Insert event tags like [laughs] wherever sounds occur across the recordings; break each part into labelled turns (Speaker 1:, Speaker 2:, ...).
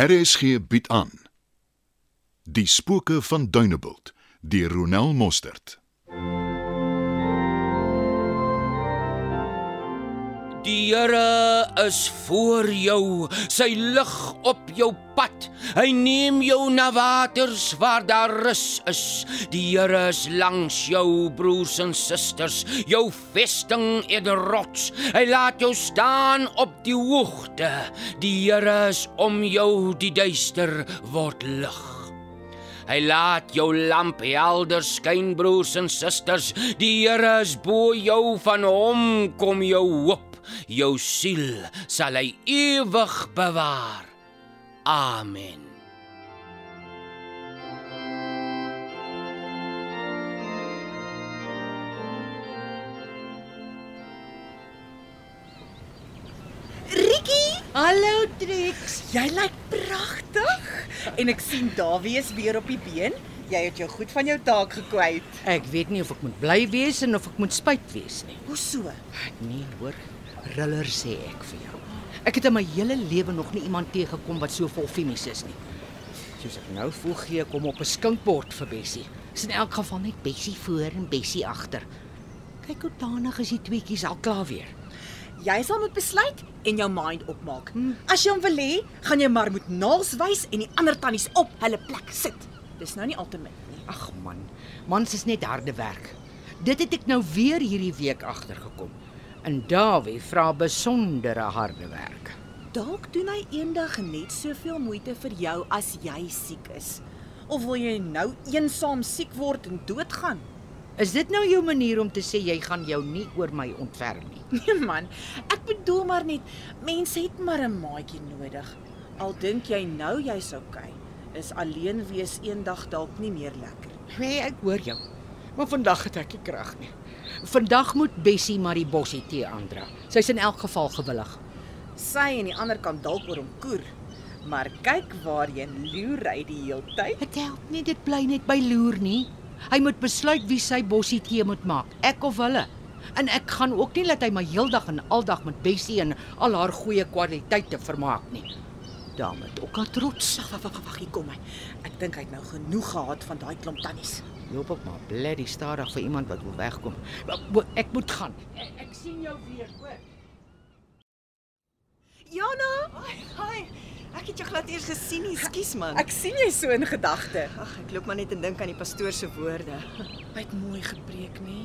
Speaker 1: RSG bied aan Die spooke van Dunebuld deur Ronel Mostert.
Speaker 2: Die Here is voor jou, sy lig op jou pad. Hy neem jou na waters waar daar rus is. Die Here is langs jou broers en susters, jou vesting en rots. Hy laat jou staan op die hoogte. Die Here is om jou, die duister word lig. Hy laat jou lamp helder skyn, broers en susters. Die Here is bo jou, van hom kom jou hoop. Jou siel sal hy ewig bewaar. Amen.
Speaker 3: Rikkie,
Speaker 4: Hallo Trix,
Speaker 3: jy lyk pragtig [laughs] en ek sien Dawie is weer op die been. Jy het jou goed van jou taak gekwyt.
Speaker 4: ek weet nie of ek moet bly wees en of ek moet spyt wees nie.
Speaker 3: Hoe so?
Speaker 4: Nee, hoor, riller sê ek vir jou. Ek het in my hele lewe nog nie iemand teëgekom wat so vol finies is nie. Soos ek nou voel gee ek hom op 'n skinkbord vir Bessie. Dis in elk geval net Bessie voor en Bessie agter. Kyk hoe danig is die tweetjies al klaar weer.
Speaker 3: Jy sal moet besluit en jou mind opmaak. As jy hom wil hê, gaan jy maar moet naals wys en die ander tannies op hulle plek sit. Dis nou nie altemin nie.
Speaker 4: Ag man, mans is net harde werk. Dit het ek nou weer hierdie week agtergekom. En Dawie vra besondere harde werk.
Speaker 3: Dalk doen hy eendag net soveel moeite vir jou as jy siek is. Of wil jy nou eensaam siek word en doodgaan?
Speaker 4: Is dit nou jou manier om te sê jy gaan jou nie oor my ontferm nie?
Speaker 3: [laughs] Nee man, ek bedoel maar net mense het maar 'n maatjie nodig. Al dink jy nou jy's okay, is alleen wees eendag dalk nie meer lekker.
Speaker 4: [laughs] Nee, ek hoor jou. Maar vandag het ek nie krag nie. Vandag moet Bessie maar die bossie tee aandra. Sy's in elk geval gewillig.
Speaker 3: Sy aan die ander kant dalk oor hom koer, maar kyk waarheen loer hy die heeltyd.
Speaker 4: Dit help nie dit bly net by loer nie. Hy moet besluit wie sy bossie tee moet maak, ek of hulle. En ek gaan ook nie laat hy my heeldag en aldag met Bessie en al haar goeie kwaliteite vermaak nie. Daar moet ook 'n trots
Speaker 3: Wag, wag, wag, wag, hier kom hy. Ek dink hy het nou genoeg gehad van daai klomp tannies.
Speaker 4: Loop op maar blerrie stadig vir iemand wat wil wegkom. Wa- Ek moet gaan. Ek, ek sien jou weer, hoor.
Speaker 3: Jana,
Speaker 5: Hi. Ek het jou glad eers gesien nie, skus man.
Speaker 3: ek sien jy so in gedagte.
Speaker 5: ag, ek loop maar net en dink aan die pastoor se woorde.
Speaker 3: Hy het mooi gepreek, nê?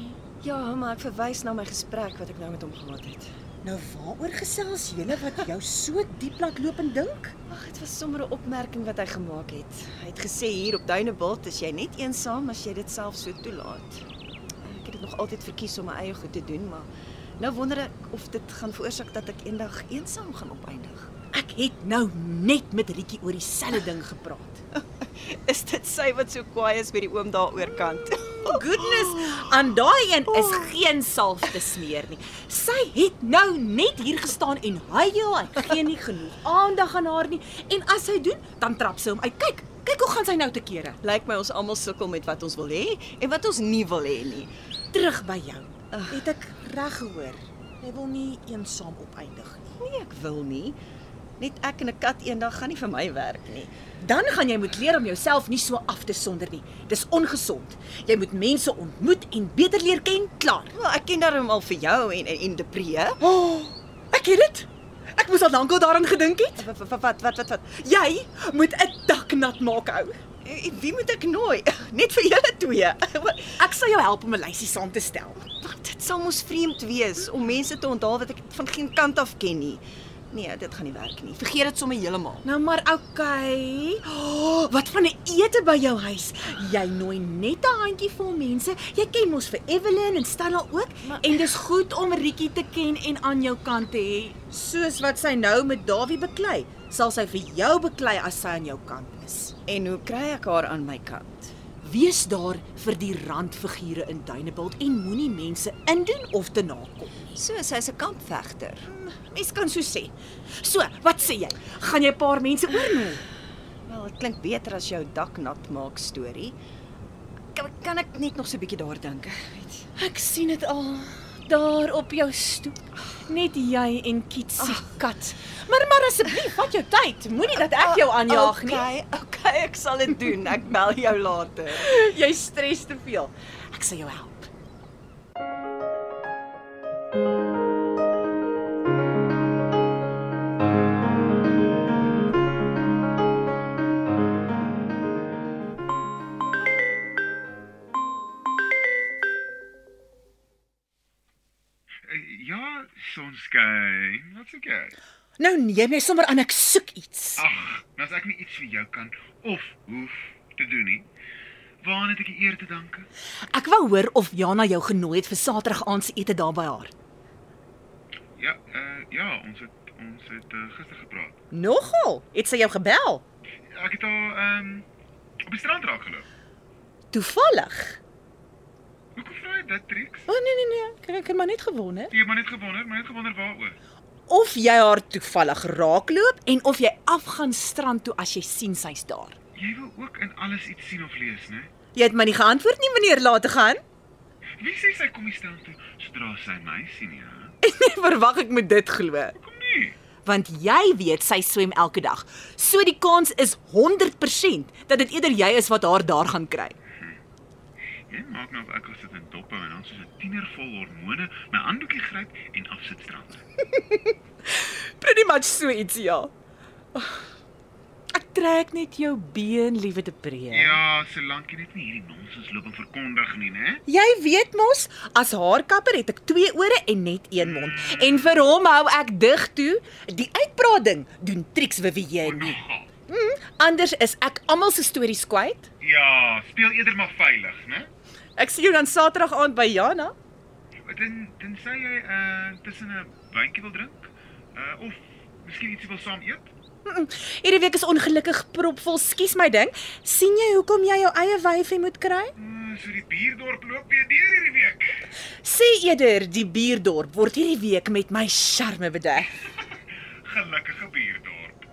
Speaker 5: Ja, maar ek verwys na my gesprek wat ek nou met hom gehad het.
Speaker 3: Nou waaroor gesels julle wat jou so diep laat loop en dink?
Speaker 5: Ag, dit was sommer 'n opmerking wat hy gemaak het. Hy het gesê hier op Duinebult is jy net eensaam as jy dit self so toelaat. Ek het dit nog altyd verkies om my eie goed te doen, maar nou wonder ek of dit gaan [laughs] veroorsaak dat ek eendag eensaam gaan opeindig.
Speaker 3: Ek het nou net met Rietjie oor dieselfde ding gepraat.
Speaker 5: Is dit sy wat so kwaai is by die oom daaroor kant? [laughs]
Speaker 3: Goodness, aan daai een is geen salf te smeer nie. Sy het nou net hier gestaan en huil, hy ja, gee nie genoeg aandag aan haar nie en as hy doen, dan trap sy hom uit. Kyk, kyk hoe gaan sy nou te kere.
Speaker 5: Lyk my ons almal sukkel met wat ons wil hê en wat ons nie wil hê nie.
Speaker 3: Terug by jou.
Speaker 5: Ag.
Speaker 3: Het ek reg gehoor? Hy wil nie eensaam opeindig nie.
Speaker 5: Nee, ek wil nie. Net ek en 'n kat eendag gaan nie vir my werk nie.
Speaker 3: Dan gaan jy moet leer om jouself nie so af te sonder nie. Dis ongesond. Jy moet mense ontmoet en beter leer ken, klaar.
Speaker 5: Wel, ek ken daarom al vir jou en en, en Depree.
Speaker 3: O, oh, ek het dit. Ek moes al lankal daaraan gedink het.
Speaker 5: Wat wat wat wat wat? wat?
Speaker 3: Jy moet 'n dak nat maak ou.
Speaker 5: Eh, Wie moet ek nooi? Net vir julle twee. [laughs] Wat-
Speaker 3: Ek sal jou help om 'n lysie saam te stel.
Speaker 5: wat, Dit sal mos vreemd wees om mense te onthaal wat ek van geen kant af ken nie. Nee, dit gaan nie werk nie. Vergeet dit sommer heeltemal.
Speaker 3: Nou maar okay. Oh, wat van 'n ete by jou huis? Jy nooi net 'n handjie vol mense. Jy ken mos vir Evelyn en Stella ook maar, en dis goed om Rietjie te ken en aan jou kant te hê. Soos wat sy nou met Dawie beklei, sal sy vir jou beklei as sy aan jou kant is.
Speaker 5: En hoe kry ek haar aan my kant?
Speaker 3: Wees daar vir die randfigure in Dunebuld en moenie mense indoen of te nakom.
Speaker 5: So, sy's 'n kampvegter.
Speaker 3: Mens kan so sê. So, wat sê jy? Gaan jy 'n paar mense oornooi?
Speaker 5: Wel, dit klink beter as jou dak nat maak storie. Kan, kan ek net nog so 'n bietjie daar dink? Weet jy?
Speaker 3: Ek sien dit al. daar op jou stoep. Net jy en Kitsie kat. Maar maar asseblief, vat jou tyd. Moenie dat ek jou aanjaag nie.
Speaker 5: Okay, okay, ek sal dit doen. Ek bel jou later.
Speaker 3: Jy stres te veel. Ek sal jou help.
Speaker 6: Eh, Ja, sonskyn. Wat's okay?
Speaker 3: Nou neem jy sommer aan ek soek iets.
Speaker 6: Ag, nou as ek nie iets vir jou kan of hoef te doen nie. Waaraan het ek die eer te danke?
Speaker 3: Ek wou hoor of Jana jou genooi het vir Saterdag aand se ete daar by haar.
Speaker 6: Ja, uh ja, ons het ons het uh, gister gepraat.
Speaker 3: Nogal, het sy jou gebel?
Speaker 6: Ek het haar ehm um, op die strand raak geloop.
Speaker 3: Toevallig.
Speaker 6: Hoekom vra jy dit, Trix?
Speaker 3: O oh, nee nee nee, ek ek het maar net gewonder
Speaker 6: Jy het maar net gewonder, maar net gewonder waaroor.
Speaker 3: of jy haar toevallig raakloop en of jy afgaan strand toe as jy sien sy's daar.
Speaker 6: Jy wil ook in alles iets sien of lees, né?
Speaker 3: Jy het my nie geantwoord nie wanneer laat te gaan. [laughs]
Speaker 6: Wie sê sy kom die strand toe sodra sy my sien, ja?
Speaker 3: Nee, verwag ek moet dit glo,
Speaker 6: Hoekom nie?
Speaker 3: want jy weet sy swem elke dag. So die kans is 100% dat dit eerder jy is wat haar daar gaan kry.
Speaker 6: Jy maak nou of ek al sit in doppe en dan soos 'n tiener vol hormone my handdoekie gryp en afsit strand.
Speaker 3: Pretty much so iets ja. Ek trek net jou been, liewe te breë.
Speaker 6: Ja, solank jy net nie hierdie nonsens loop en verkondig nie, né?
Speaker 3: Jy weet mos, as haarkapper het ek twee ore en net een mond. En vir hom hou ek dig toe. Die uitprating doen triks Vivienne nie.
Speaker 6: Nogal.
Speaker 3: Anders is ek almal se stories kwyt.
Speaker 6: Ja, speel eerder maar veilig, né?
Speaker 3: Ek sien jou dan Saterdag aand by Jana.
Speaker 6: Dan dan sê jy uh tussen 'n wyntjie wil drink uh of miskien ietsie wil saam eet?
Speaker 3: Hierdie week is ongelukkig propvol. Skus my ding. sien jy hoekom jy jou eie wyfie moet kry?
Speaker 6: Mm, so die bierdorp loop weer deur hierdie week.
Speaker 3: Sê eerder die buurdorp word hierdie week met my charme bedek.
Speaker 6: Gelukkige bierdorp.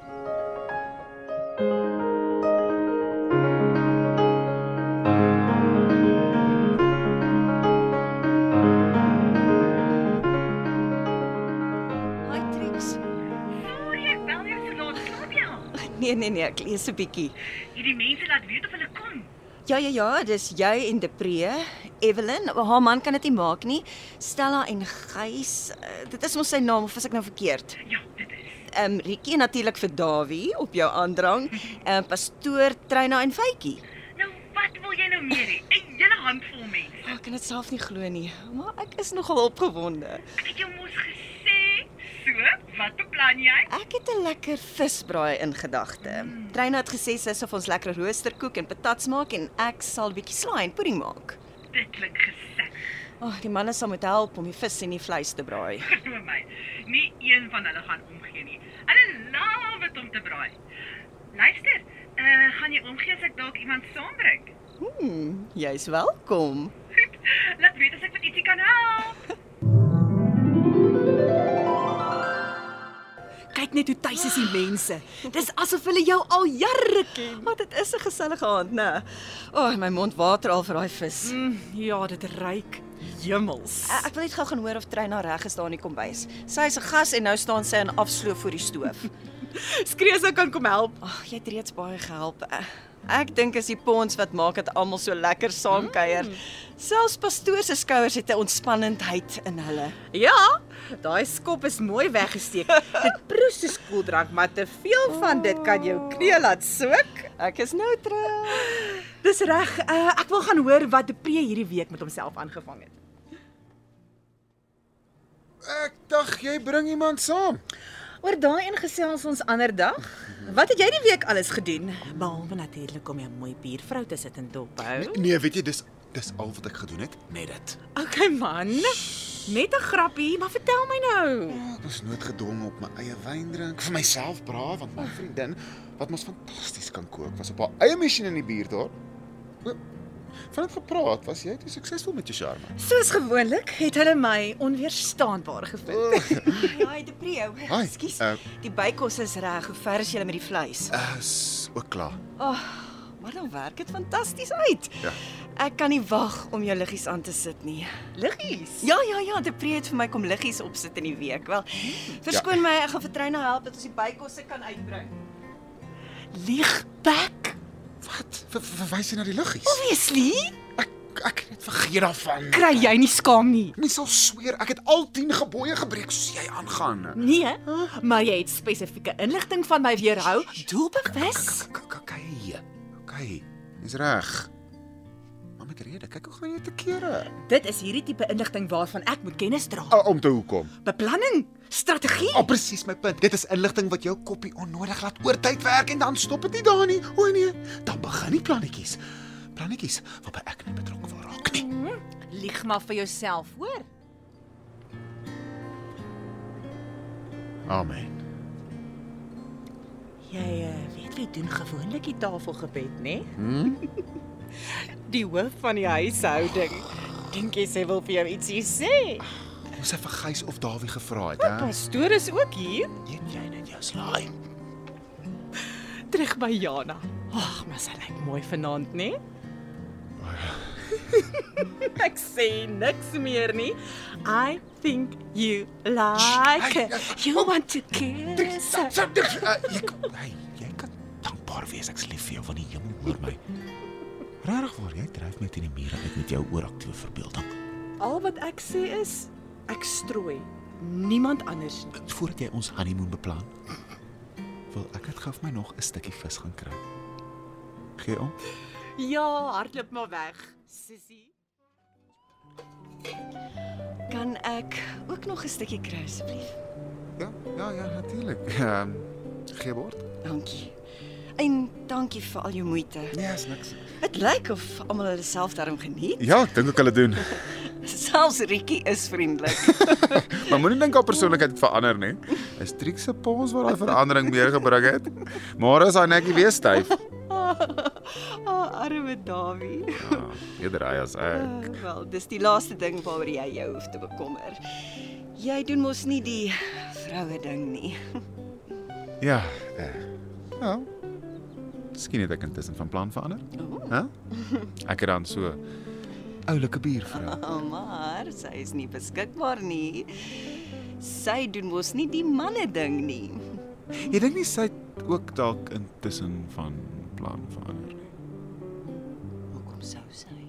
Speaker 5: Hi Trix.
Speaker 7: Ek bel jou so laat slaap jy al.
Speaker 5: Nee nee nee, ek lees 'n bietjie.
Speaker 7: Hierdie mense laat weet of hulle kom.
Speaker 5: Ja ja ja, dis jy en Depree. Evelyn, haar man kan dit nie maak nie. Stella en Gys, eh, dit is mos sy naam of is ek nou verkeerd?
Speaker 7: Ja, dit is.
Speaker 5: Ehm um, Rietjie natuurlik vir Dawie op jou aandrang, ehm pastoor Treina en Faitjie.
Speaker 7: Nou wat wil jy nou meer hê? 'n Hele handvol mense.
Speaker 5: Ah, Ek kan dit self nie glo nie, maar ek is nogal opgewonde.
Speaker 7: Ek het jou mos gesê. So, wat beplan jy?
Speaker 5: Ek het 'n lekker visbraai in gedagte. Treina het gesê sy sal vir ons lekker roosterkoek en patats maak en ek sal 'n bietjie slaai en pudding maak.
Speaker 7: Dit klink gesig.
Speaker 5: Ag, oh, die manne sal moet help om die vis en die vleis te braai.
Speaker 7: Glo my. Nie een van hulle gaan omgee nie. Hulle laaf dit om te braai. Luister, uh, gaan jy omgee as ek dalk iemand saambring?
Speaker 5: Hmm, jy's welkom.
Speaker 7: Goed. Laat weet as ek vir ietsie kan help.
Speaker 3: Kyk net hoe tuis is die mense. Dis asof hulle jou al jare ken.
Speaker 5: Maar dit is 'n gesellige aand, né? O, oh, my mond water al vir daai vis.
Speaker 3: Mm, ja, dit ruik hemels.
Speaker 5: Eh, Ek, ek wil net gou gaan hoor of Treina reg is daar in die kombuis. Sy's 'n gas en nou staan sy in afsloof voor die stoof.
Speaker 3: Skree sou kan kom help.
Speaker 5: [laughs] Ag, jy het reeds baie gehelp. Eh, Ek dink is die pons wat maak dat almal so lekker saam kuier.
Speaker 3: Mm.
Speaker 5: Selfs pastoors se skouers het 'n ontspannendheid in hulle.
Speaker 3: Ja, daai skop is mooi weggesteek. dit proes soos koeldrank, maar te veel van dit kan jou knie laat soek.
Speaker 5: Ek is nou terug.
Speaker 3: Dis reg. Uh, ek wil gaan hoor wat Depree hierdie week met homself aangevang het.
Speaker 8: Ek dink jy bring iemand saam.
Speaker 3: Oor daai een gesels ons ander dag. Wat het jy die week alles gedoen? Behalwe natuurlik om jou mooi biervrou te sit en dop hou.
Speaker 8: Nee, weet jy, dis dis al wat ek gedoen het, net dit.
Speaker 3: Okay man. Net 'n grappie, maar vertel my nou.
Speaker 8: Ja, Ek was noodgedwonge op my eie wyn drink, vir myself braai want my vriendin wat mos fantasties kan kook, was op haar eie masjien in die buurdorp. O, Van dit gepraat, was jy te suksesvol met jou charme?
Speaker 3: Soos gewoonlik het hulle my onweerstaanbaar gevind.
Speaker 5: Haai, Depreo.
Speaker 8: Hi,
Speaker 5: Ekskuus.
Speaker 8: eh.
Speaker 5: Die bykos is reg. Hoe ver is jy met die vleis?
Speaker 8: Is ook klaar.
Speaker 5: Ag, oh, maar dan werk dit fantasties uit.
Speaker 8: Ja.
Speaker 5: Ek kan nie wag om jou liggies aan te sit nie.
Speaker 3: Liggies.
Speaker 5: Ja, ja, ja, De Pree het vir my kom liggies opsit in die week. Wel,
Speaker 8: Hmm. Ja.
Speaker 5: verskoon my, ek gaan vir Treyna help dat ons die bykosse kan uitbring. Liegpak?
Speaker 8: Wat? Ver- ver- Verwys jy na die liggies?
Speaker 5: Obviously.
Speaker 8: Ek ek het net vergeet daarvan.
Speaker 3: Kry jy nie skaam nie.
Speaker 8: Mens sal sweer ek het al 10 gebooie gebreek soos jy aangaan.
Speaker 3: Nee, maar jy het spesifieke inligting van my weerhou, doelbewus.
Speaker 8: Okay. Okay. Dis reg. Maar met rede, kyk hoe gaan jy te kere.
Speaker 3: Dit is hierdie tipe inligting waarvan ek moet kennis dra.
Speaker 8: O, om te hoekom?
Speaker 3: Beplanning, strategie.
Speaker 8: Al oh, presies my punt. Dit is inligting wat jou koppie onnodig laat oortyd werk en dan stop dit nie daar nie. O nee, dan begin die plannetjies. Plannetjies waarby ek nie betrokke wil raak nie.
Speaker 3: Lieg maar vir jouself, hoor.
Speaker 8: Amen.
Speaker 3: Jy uh, weet wie doen gewoonlik die tafelgebed, né? Nee? Hmm? [laughs] die hoof van die huishouding. Dink jy sy wil vir jou ietsie sê?
Speaker 8: Ons het vir Gys of Dawie gevra het, hè?
Speaker 3: Pastoor is ook hier,
Speaker 8: Eet jy net jou slaai?
Speaker 3: terug by Jana. Ag, maar sy lyk mooi vanaand, né? Ek sê niks meer nie. I think you like her. You want to kiss her.
Speaker 8: Jy kan- hey, jy kan dankbaar wees. Ek's lief vir jou van die hemel, hoor my. Regtig waar, jy dryf my teen die mure uit met jou ooraktiewe verbeelding.
Speaker 3: Al wat ek sê is ek strooi. Niemand anders nie.
Speaker 8: Voordat jy ons honeymoon beplan, wil ek net gou vir my nog 'n stukkie vis gaan kry. Gee om.
Speaker 3: Ja, hardloop maar weg, sissie.
Speaker 5: Kan ek ook nog 'n stukkie kry asseblief?
Speaker 8: Ja, ja, ja, natuurlik. [laughs] Ehm gee word?
Speaker 5: Dankie. En dankie vir al jou moeite.
Speaker 8: Nee, is niks.
Speaker 5: Dit lyk of almal hulle self daarom geniet.
Speaker 8: Ja, ek dink ek hulle doen.
Speaker 5: Selfs Rikkie is vriendelik.
Speaker 8: [laughs] Maar moenie dink haar persoonlikheid het verander nie. Is Triek se pons wat daai verandering meer gebring het. Môre is haar nekkie weer styf.
Speaker 5: Ah, arme Dawie.
Speaker 8: Ja, eerder hy as ek.
Speaker 5: Uh, [laughs] wel, dis die laaste ding waaroor jy jou hoef te bekommer. Jy doen mos nie die vroue ding nie. [laughs]
Speaker 8: Ja. Eh. Ja. Miskien het ek intussen van plan verander. Hæ? Ek het dan so oulike buurvrou.
Speaker 5: Oh, maar sy is nie beskikbaar nie. Sy doen mos nie die manne ding nie.
Speaker 8: Jy dink nie sy het ook dalk intussen van plan verander nie.
Speaker 5: Hoekom sou sy?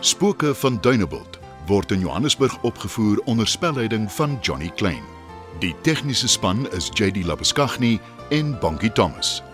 Speaker 1: Spooke van Dunebuld word in Johannesburg opgevoer onder spelleiding van Johnny Klein. Die tegniese span is JD Labuskaghni en Bongie Thomas.